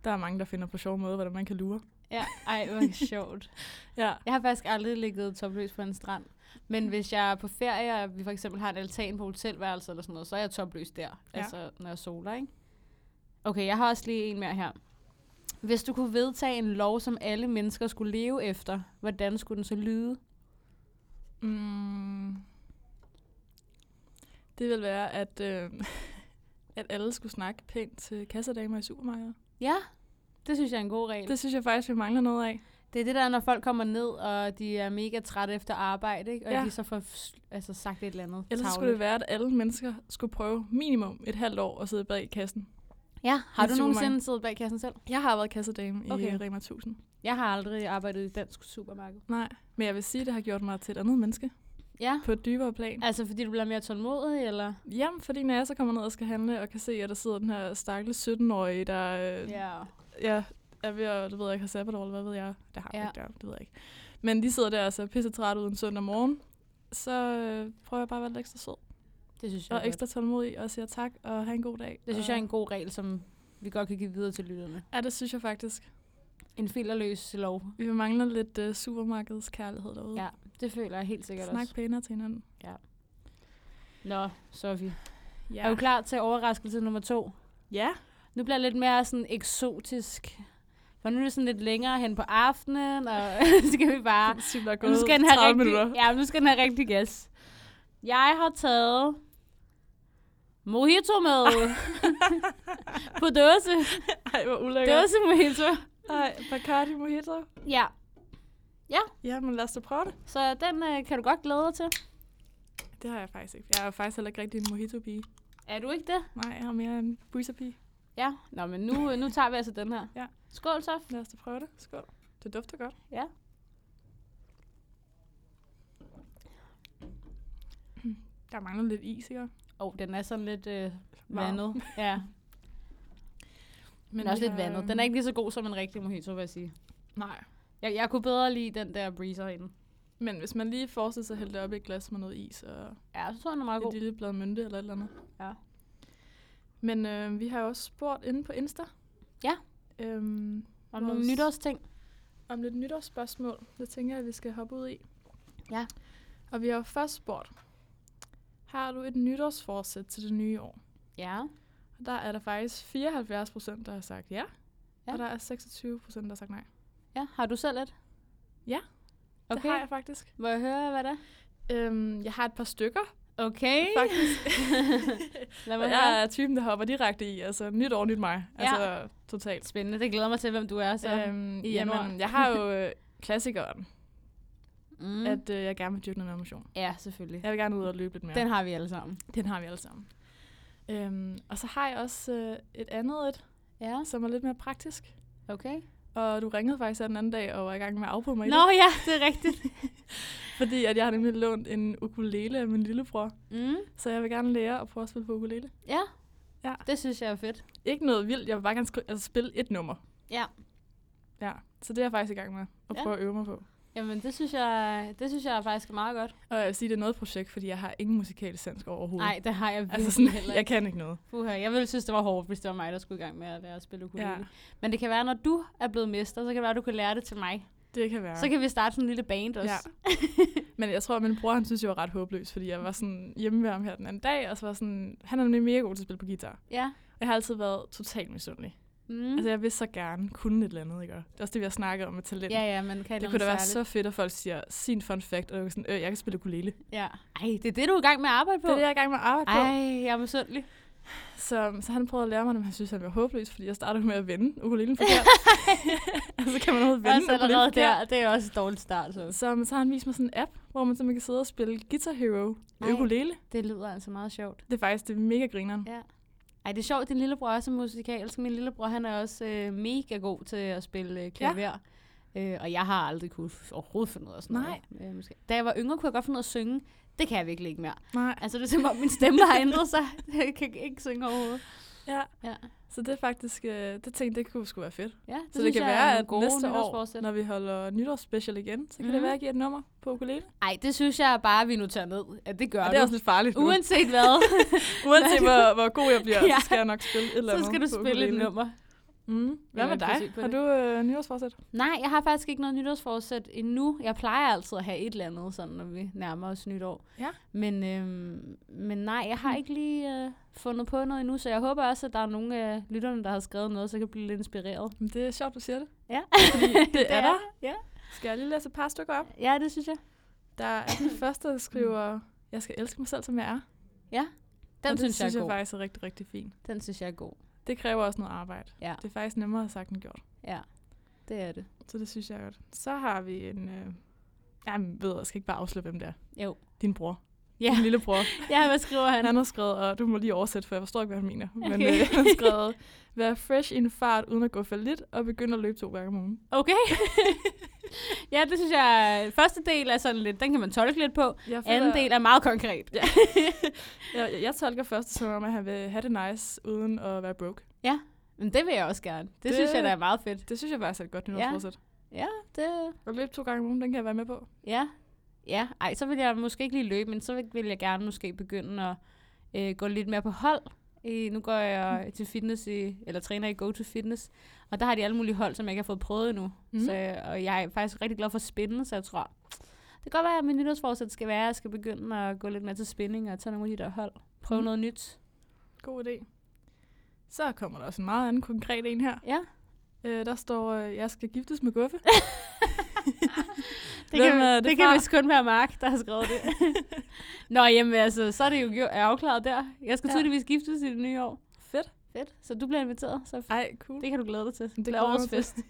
der er mange, der finder på sjove måder, hvordan man kan lure. ja, ej, hvor sjovt. Ja. Jeg har faktisk aldrig ligget topløs på en strand. Men hvis jeg er på ferie, og vi for eksempel har en altan på hotelværelset eller sådan noget, så er jeg topløs der. Ja. Altså, når jeg soler, ikke? Okay, jeg har også lige en mere her. Hvis du kunne vedtage en lov, som alle mennesker skulle leve efter, hvordan skulle den så lyde? Mm. Det vil være, at, øh, at alle skulle snakke pænt til kassedamer i supermarkedet. Ja, det synes jeg er en god regel. Det synes jeg faktisk, vi mangler noget af. Det er det der, når folk kommer ned, og de er mega trætte efter arbejde, ikke? og Ja. de så får s- altså, sagt et eller andet Ellers skulle det være, at alle mennesker skulle prøve minimum et halvt år at sidde bag kassen. Ja, har i du supermarked. nogensinde siddet bag kassen selv? Jeg har været kassedame okay. i Okay. øh, Rema 1000. Jeg har aldrig arbejdet i dansk supermarked. Nej, men jeg vil sige, at det har gjort mig til et andet menneske Ja, på et dybere plan. altså fordi du bliver mere tålmodig, eller? Jamen, fordi når jeg så kommer ned og skal handle, og kan se, at der sidder den her stakkels 17-årige, der øh, Ja. ja, er ved at, det ved jeg ikke, har sabbatår, eller hvad ved jeg. Det har Ja. ja. ikke, der, det ved jeg ikke. Men de sidder der og ser pisse træt ud en søndag morgen. Så øh, prøver jeg bare at være lidt ekstra sød Det synes jeg er og godt. ekstra tålmodig og siger tak og have en god dag. Det synes og, jeg er en god regel, som vi godt kan give videre til lytterne. Ja, det synes jeg faktisk. En filterløs lov. Vi mangler lidt øh, supermarkedets kærlighed derude. Ja, det føler jeg helt sikkert Snak også. pænere til hinanden. Nå, Sofie. Ja. Ja. Er du klar til overraskelse nummer to? Ja. Nu bliver det lidt mere sådan eksotisk. For nu er det sådan lidt længere hen på aftenen, og så skal vi bare... Den cykler er Nu gået skal, den have 30 rigtig, minutter. ja, nu skal den have rigtig gas. Jeg har taget mojito med på dåse. Ej, hvor ulækkert. Dåse mojito. Ej, Bacardi Mojito. Ja, Jamen, lad os da prøve det. så den øh, kan du godt glæde dig til. Det har jeg faktisk ikke. Jeg er faktisk heller ikke rigtig en mojito-pige. Er du ikke det? Nej, jeg er mere en buiser-pige. Ja. Nå, men nu, nu tager vi altså den her. Ja. Skål, Sof. Lad os da prøve det. Skål. Det dufter godt. Ja. Der mangler lidt is, ikke? Åh, oh, den er sådan lidt øh, Varm. vandet. Ja, men også vi lidt har, vandet. øhm, Den er ikke lige så god som en rigtig mojito, vil jeg sige. Nej. Jeg, jeg kunne bedre lide den der breezer inde. Men hvis man lige forestiller sig at hælde det op i et glas med noget is og Ja, så tror jeg, den er meget et god. lille blad mynte eller et eller andet. Ja. Men øh, vi har jo også spurgt inde på Insta. Ja. Øhm, Og nogle vores- nytårsting. om lidt nytårsspørgsmål. Det tænker jeg, at vi skal hoppe ud i. Ja. Og vi har jo først spurgt, har du et nytårsforsæt til det nye år? Ja. Og der er der faktisk 74 procent, der har sagt ja, Ja. ja. og der er 26 procent, der har sagt nej. Ja, har du selv et? Ja, Okay. Det har jeg faktisk. Må jeg høre, hvad det er? Øhm, jeg har et par stykker, Okay. faktisk. Lad mig Og høre. jeg er typen, der hopper direkte i. Altså, nyt år, nyt mig. Ja. Altså, totalt. Spændende. Det glæder mig til, hvem du er så. Øhm, i januar. jamen, jeg har jo øh, klassikeren, mm. mm. at øh, jeg gerne vil dyrke noget mere motion. ja, selvfølgelig. Jeg vil gerne ud og løbe lidt mere. Den har vi alle sammen. Den har vi alle sammen. Øhm, og så har jeg også øh, et andet et, Ja, som er lidt mere praktisk. okay. Og du ringede faktisk her den anden dag og var i gang med at afbryde mig i Nå det, ja, det er rigtigt. fordi at jeg har nemlig lånt en ukulele af min lillebror. Mm. Så jeg vil gerne lære at prøve at spille på ukulele. Ja. Ja. det synes jeg er fedt. Ikke noget vildt, jeg vil bare gerne skri- altså, spille et nummer. Ja. Ja, så det er jeg faktisk i gang med at Ja. prøve at øve mig på. Jamen, det synes jeg, det synes jeg er faktisk meget godt. Og jeg vil sige, det er noget projekt, fordi jeg har ingen musikalsk sans overhovedet. Nej, det har jeg virkelig altså sådan, heller jeg ikke. kan ikke noget. Puha, jeg ville synes, det var hårdt, hvis det var mig, der skulle i gang med at lære at spille ukulele. Ja, Ja. Men det kan være, når du er blevet mester, så kan det være, at du kan lære det til mig. det kan være. Så kan vi starte sådan en lille band også. Ja. Men jeg tror, at min bror, han synes, jeg var ret håbløs, fordi jeg var sådan hjemme ved ham her den anden dag, og så var sådan, han er nemlig mega god til at spille på guitar. ja. Og jeg har altid været totalt misundelig. Mm. Mm. Altså, jeg vil så gerne kunne et eller andet, ikke? Og Det er også det, vi har snakket om med talent. ja, ja, man kan det kunne da være så fedt, at folk siger sin fun fact, og jeg sådan, øh, jeg kan spille ukulele. Ja. Ej, det er det, du er i gang med at arbejde på. Det er det, jeg er i gang med at arbejde på. Ej, jeg er misundelig. Så, så han prøvede at lære mig, men han synes, han var håbløs, fordi jeg startede med at vende ukulelen forkert. altså, kan man overhovedet vende Også ukulelen allerede forkert? der, det er også et dårligt start. Så. Så, så har han vist mig sådan en app, hvor man simpelthen kan sidde og spille Guitar Hero med Ej. ukulele. Det lyder altså meget sjovt. Det er faktisk det er mega grineren. Ja. Ej, det er sjovt, din lillebror er så musikalsk. Min lillebror, han er også øh, mega god til at spille øh, klaver. Ja. Øh, og jeg har aldrig kunne f- overhovedet finde ud af sådan Nej. noget. Øh, måske. Da jeg var yngre, kunne jeg godt finde ud af at synge. Det kan jeg virkelig ikke mere. Nej. Altså, det er som om, min stemme har ændret sig. Jeg kan ikke synge overhovedet. Ja. Ja. ja. Så det er faktisk, øh, det tænkte det kunne sgu være fedt. Ja, det Så det synes kan jeg er være, nogle at gode næste år, nytårsforsæt. når vi holder nytårsspecial igen, så kan mm. Mhm. det være, at jeg giver et nummer på ukulele. Ej, det synes jeg bare, at vi nu tager ned. At det gør Og det er du. også lidt farligt nu. Uanset hvad, Uanset hvor, hvor god jeg bliver, Ja. så skal jeg nok spille et eller så andet skal du på spille et ukulele. nummer. Mm. Hvad Eller med et forsøg dig? på Har det. du øh, nytårsforsæt? Nej, jeg har faktisk ikke noget nytårsforsæt endnu. Jeg plejer altid at have et eller andet, sådan, når vi nærmer os nytår. Ja. Men, øhm, men nej, jeg har ikke lige øh, fundet på noget endnu, så jeg håber også, at der er nogle af øh, lytterne, der har skrevet noget, så jeg kan blive lidt inspireret. Men det er sjovt, du siger det. Ja. Fordi det, det er der. Ja. Skal jeg lige læse et par stykker op? ja, det synes jeg. Der er den første, der skriver, jeg skal elske mig selv, som jeg er. Den synes, og det jeg er synes jeg god. faktisk er rigtig, rigtig fint. Den synes jeg er god. Det kræver også noget arbejde. Ja. Det er faktisk nemmere sagt end gjort. Ja, det er det. Så det synes jeg er godt. Så har vi en... Øh... Jamen, ved jeg, jeg skal ikke bare afsløre, hvem det er. Jo. Din bror. Ja, Din lillebror. ja hvad skriver han? Han har skrevet, og du må lige oversætte, for jeg forstår ikke, hvad han mener. Men Okay. øh, han har skrevet, vær fresh i en fart, uden at gå for lidt, og begynde at løbe to gange om ugen. Okay. ja, det synes jeg, første del er sådan lidt, den kan man tolke lidt på. Jeg Anden del er meget konkret. Ja. Jeg, jeg, jeg tolker først som om, at han vil have det nice, uden at være broke. Men det vil jeg også gerne. Det, det Det- synes jeg, der er meget fedt. Det synes jeg faktisk er et godt nytårsforsæt. Det, Ja. At løbe to gange om ugen, den kan jeg være med på. ja. Ja, ej, så vil jeg måske ikke lige løbe, men så vil jeg gerne måske begynde at øh, gå lidt mere på hold. Øh, nu går Mm. jeg til fitness, i, eller træner i Go to Fitness, og der har de alle mulige hold, som jeg ikke har fået prøvet endnu. Mm. Mm. Så, og jeg er faktisk rigtig glad for spændende, så jeg tror, det kan godt være, at min nytårsforsæt skal være, at jeg skal begynde at gå lidt mere til spænding og tage nogle af de der hold. Prøve mm. Mm. noget nyt. God idé. Så kommer der også en meget anden konkret en her. Ja. Øh, der står, øh, jeg skal giftes med Guffe. Det, Hvem kan, er det, det det kan fra? vist kun være Mark, der har skrevet det. Nå, jamen altså, så er det jo gjort- er afklaret der. Jeg skal Ja. tydeligvis giftes i det nye år. Fedt. Fedt. Så du bliver inviteret, så Ej, cool. det kan du glæde dig til. Det Det er glæder jeg årets mig til.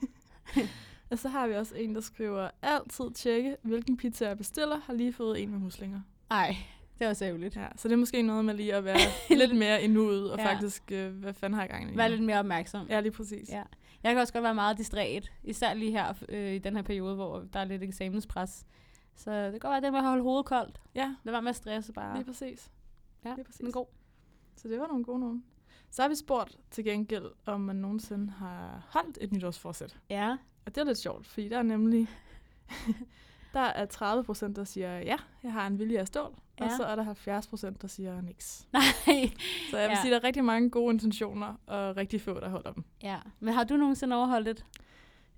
fest. Og så har vi også en, der skriver, altid tjekke, hvilken pizza jeg bestiller, har lige fået en med muslinger. Ej, det var så ærgerligt. Ja, så det er måske noget med lige at være lidt mere endnu ud, og Ja. ja. faktisk, øh, hvad fanden har jeg gang i? Vær lidt mere opmærksom. Ja, lige præcis. Ja. Jeg kan også godt være meget distræt, især lige her øh, i den her periode, hvor der er lidt eksamenspres. Så det kan godt være, at det med at holde hovedet koldt. ja Lad være med at stresse bare. lige præcis. ja, lige præcis. Men god. Så det var nogle gode nogen. Så har vi spurgt til gengæld, om man nogensinde har holdt et nytårsforsæt. Ja. Og det er lidt sjovt, fordi der er nemlig... der er 30 procent, der siger, ja, jeg har en vilje af stål. Ja. Og Ja. så er der 70 procent, der siger niks. Nej. Så jeg vil Ja. ja. sige, der er rigtig mange gode intentioner, og rigtig få, der holder dem. Ja. Men har du nogensinde overholdt det?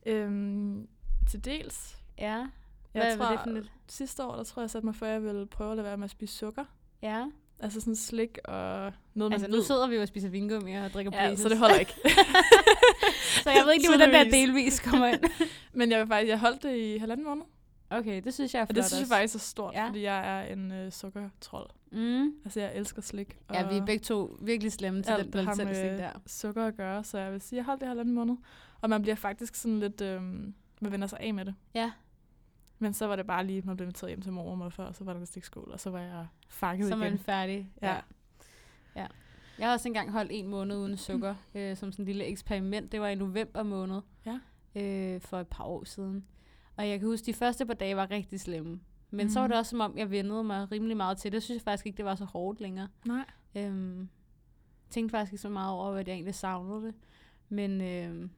Øhm, til dels. Ja. Jeg Hvad tror, var det for et? Sidste år, der tror jeg, jeg satte mig for, at jeg ville prøve at lade være med at spise sukker. Ja. Altså sådan slik og noget, Altså, man nu ved. sidder vi jo og spiser vingummi og drikker ja, blazes. så det holder ikke. så jeg ved ikke, lige, hvordan den der Tydeligvis. delvis kommer ind. Men jeg, vil faktisk, jeg holdt det i halvanden måned. Okay, det synes jeg er Og flot det synes jeg også. faktisk er stort, Ja. ja. fordi jeg er en øh, sukkertrold. Mm. Altså, jeg elsker slik. Og Ja, vi er begge to virkelig slemme til alt, den der har blomstelsning med der. sukker at gøre, så jeg vil sige, at jeg holdt det i halvanden måned. Og man bliver faktisk sådan lidt, øh, man vender sig af med det. Ja. Men så var det bare lige, man blev inviteret hjem til mor og morfar, og så var der en stikskål, og så var jeg fanget Så er man igen. færdig. Ja. ja. Jeg har også engang holdt en måned uden sukker, øh, som sådan en lille eksperiment. Det var i november måned, Ja. øh, for et par år siden. Og jeg kan huske, de første par dage var rigtig slemme. Men mm. så var Mhm. det også, som om jeg vendede mig rimelig meget til det. Jeg synes faktisk ikke, det var så hårdt længere. Nej. Øhm, tænkte faktisk ikke så meget over, hvad jeg egentlig savnede det. Men, øhm,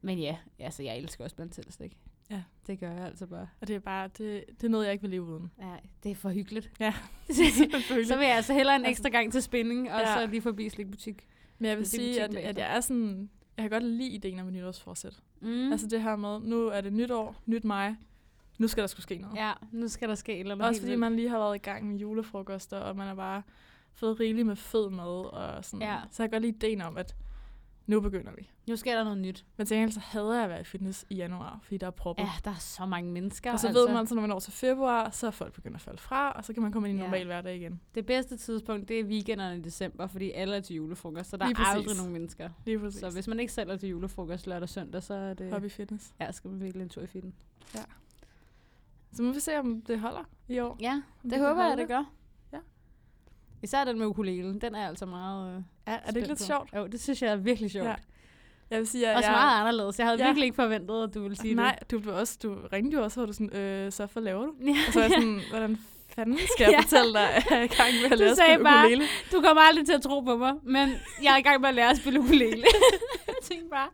men ja, altså jeg elsker også blandt selv ikke? Ja. Det gør jeg altså bare. Og det er bare, det, det er noget, jeg ikke vil leve uden. Ja, det er for hyggeligt. Ja. så vil jeg altså hellere en Altså- ekstra gang til spænding, og Ja. så lige forbi slikbutik. Men jeg vil Det er sige, at, butikken at bagefter. jeg er sådan, jeg kan godt lide ideen om et nytårsforsæt. Mm. Mm. Altså det her med, nu er det nytår, nyt mig, nu skal der skulle ske noget. ja, nu skal der ske et eller andet Også helt fordi vildt. man lige har været i gang med julefrokoster, og man har bare fået rigeligt med fed mad. Og sådan. Ja. Så jeg kan godt lide ideen om, at nu begynder vi. Nu sker der noget nyt. Men til gengæld så hader jeg at være i fitness i januar, fordi der er proppet. Ja, der er så mange mennesker. og så altså. ved man, så når man når til februar, så er folk begyndt at falde fra, og så kan man komme ind i en Ja. normal hverdag igen. Det bedste tidspunkt, det er weekenderne i december, fordi alle er til julefrokost, så der Lige er præcis. aldrig nogen mennesker. Lige præcis. Så hvis øh, man ikke selv er til julefrokost lørdag og søndag, så er det... Hobby fitness. Ja, skal man virkelig en tur i fitten. Så må vi se, om det holder i år. Ja, Om det kan håber jeg, holde det gør. Ja. Især den med ukulelen, den er altså meget øh, Ja, er det ikke spændt lidt på. sjovt? Jo, det synes jeg er virkelig sjovt. Ja. Ja. Jeg vil sige, at Også jeg... meget anderledes. Jeg havde ja. Ja. virkelig ikke forventet, at du ville sige Nej, du, blev også, du ringte jo også, hvor du sådan, øh, så for laver du? det. Ja. Og så er jeg sådan, hvordan fanden skal jeg Ja. fortælle dig, at jeg er i gang med at Du lære at sagde spille bare- ukulele? Du kommer aldrig til at tro på mig, men jeg er i gang med at lære at spille ukulele. jeg tænkte bare,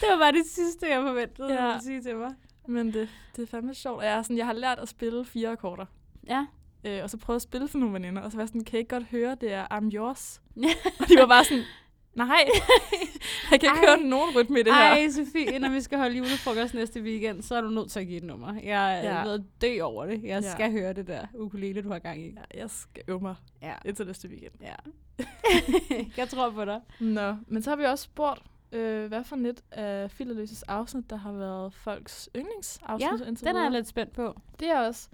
det var bare det sidste, jeg forventede, ja. Ja. du ville sige til mig. Men det, det er fandme sjovt. Og jeg, er sådan, jeg har lært at spille fire akkorder. Ja. Øh, og så prøvede at spille for nogle veninder, og så var jeg sådan, kan I ikke godt høre, det er I'm yours? Ja. og de var bare sådan, Nej, jeg kan ikke Ej. høre nogen rytme i det her. Ej, Sofie, når vi skal holde julefrokost næste weekend, så er du nødt til at give et nummer. Jeg er Ja. ja. ved at dø over det. Jeg Ja. ja. skal høre det der ukulele, du har gang i. Ja, jeg skal øve mig Ja. indtil næste weekend. ja. jeg tror på dig. Nå, men så har vi også spurgt, øh, hvad for lidt af Filterløses afsnit, der har været folks yndlingsafsnit ja, indtil Den er videre. jeg lidt spændt på. Det er også.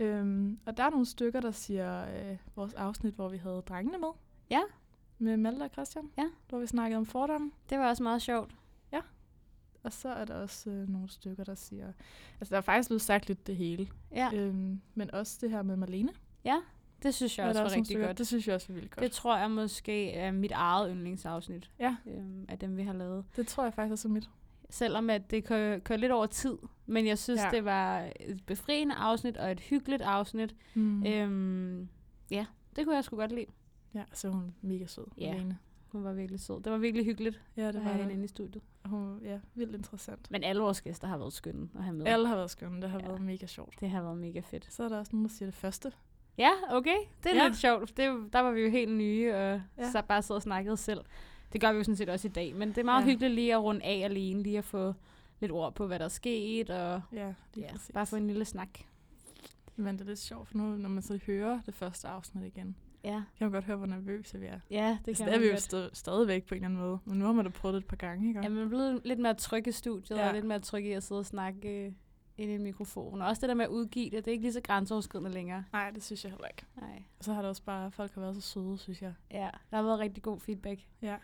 Øhm, og der er nogle stykker, der siger øh, vores afsnit, hvor vi havde drengene med. Ja. Med Malte og Christian. Ja. Hvor vi snakkede om fordomme. Det var også meget sjovt. Og så er der også øh, nogle stykker, der siger... Altså, der er faktisk blevet sagt lidt det hele. Ja, Øhm, men også det her med Marlene. det synes jeg er også der var nogle rigtig stykker- godt. Det synes jeg også var vildt godt. Det Det, tror jeg måske er mit eget yndlingsafsnit Ja. øhm, af dem, vi har lavet. det tror jeg faktisk også er mit. Selvom at det kører, kører lidt over tid, men jeg synes, Ja. ja. det var et befriende afsnit og et hyggeligt afsnit. Mm. Mm. Øhm, ja, det kunne jeg sgu godt lide. Ja, så er hun mega sød. Ja. Malene. Hun var virkelig sød. Det var virkelig hyggeligt Ja, at det var have hende det. inde i studiet. Hun, ja, vildt interessant. Men alle vores gæster har været skønne at have med. Alle har været skønne. Det har ja. Ja. været mega sjovt. Det har været mega fedt. Så er der også nogen, der siger det første. Ja, okay. Det er Ja. ja. lidt sjovt. Det, der var vi jo helt nye og Ja. ja. så bare sad og snakkede selv. Det gør vi jo sådan set også i dag, men det er meget Ja. ja. hyggeligt lige at runde af alene, lige at få lidt ord på, hvad der er sket, og Ja, lige ja, præcis. bare få en lille snak. Men det er lidt sjovt, for nu, når man så hører det første afsnit igen, Ja, kan man godt høre, hvor nervøse vi er. ja Altså, det Det, kan det er man vi jo godt. st- stadigvæk på en eller anden måde, men nu har man da prøvet det et par gange, ikke? Ja, man er blevet lidt mere tryg i studiet, Ja. ja. og lidt mere tryg i at sidde og snakke øh, ind i en mikrofon. Og også det der med at udgive det, det er ikke lige så grænseoverskridende længere. Nej, det synes jeg heller ikke. Nej. Og så har det også bare, folk har været så søde, synes jeg. Ja, der har været rigtig god feedback. Ja.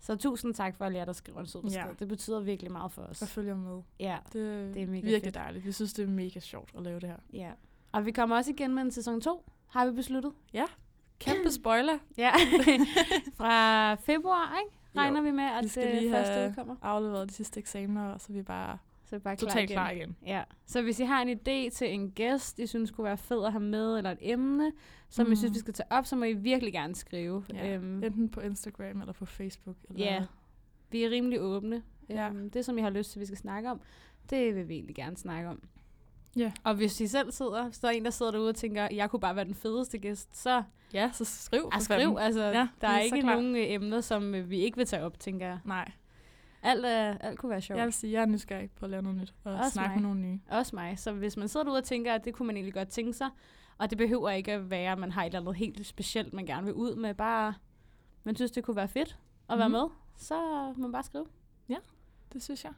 Så tusind tak for alle jer, der skriver en sød besked. Ja. Ja. Det betyder virkelig meget for os. Og følger med. Ja, Det, Det er mega virkelig fedt. dejligt. Vi synes, det er mega sjovt at lave det her. ja. Og vi kommer også igen med en sæson 2, har vi besluttet. Kæmpe spoiler. Ja. Fra februar, ikke? Regner jo. vi med, at vi det skal lige første have udkommer. afleveret de sidste eksamener, og så er vi bare Så er vi bare klar totalt igen. klar igen. Ja, så hvis I har en idé til en gæst, I synes kunne være fed at have med, eller et emne, som mm. I Mm. synes, vi skal tage op, så må I virkelig gerne skrive. Ja. Ja. Øhm, Enten på Instagram eller på Facebook. Eller Ja. Vi er rimelig åbne. Ja. Ja. Øhm, det, som I har lyst til, vi skal snakke om, det vil vi egentlig gerne snakke om. Ja. Og hvis I selv sidder, så er en, der sidder derude og tænker, jeg kunne bare være den fedeste gæst, så ja, så skriv. for ah, skriv. fanden. Altså, Ja, ja, vi der er er så ikke klar. nogen øh, emner, som øh, vi ikke vil tage op, tænker jeg. Nej, Alt, øh, alt kunne være sjovt. jeg vil sige, jeg er nysgerrig på at lave noget nyt og Også snakke mig. med nogle nye. Også mig. Så hvis man sidder derude og tænker, at det kunne man egentlig godt tænke sig, og det behøver ikke at være, at man har et eller andet helt specielt, man gerne vil ud med, bare man synes, det kunne være fedt at være Mhm. med, så må man bare skrive. Det synes jeg.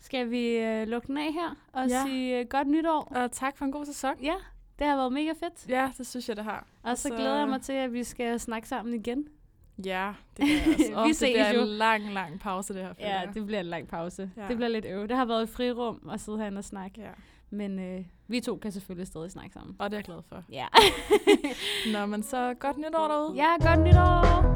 Skal vi øh, lukke den af her og Ja. ja. sige øh, godt nytår? Og tak for en god sæson. Ja, det har været mega fedt. Ja, det synes jeg, det har. Og så, Så- så glæder jeg mig til, at vi skal snakke sammen igen. Ja, det gør jeg også. Vi Åh, det ses bliver jo. en lang, lang pause, det her. føler Ja, jeg. det bliver en lang pause. Ja. Ja. Det bliver lidt øv. Det har været et frirum at sidde herinde og snakke. ja. Men øh, vi to kan selvfølgelig stadig snakke sammen. Og det er jeg glad for. Ja, Nå, men så godt nytår derude. ja godt nytår!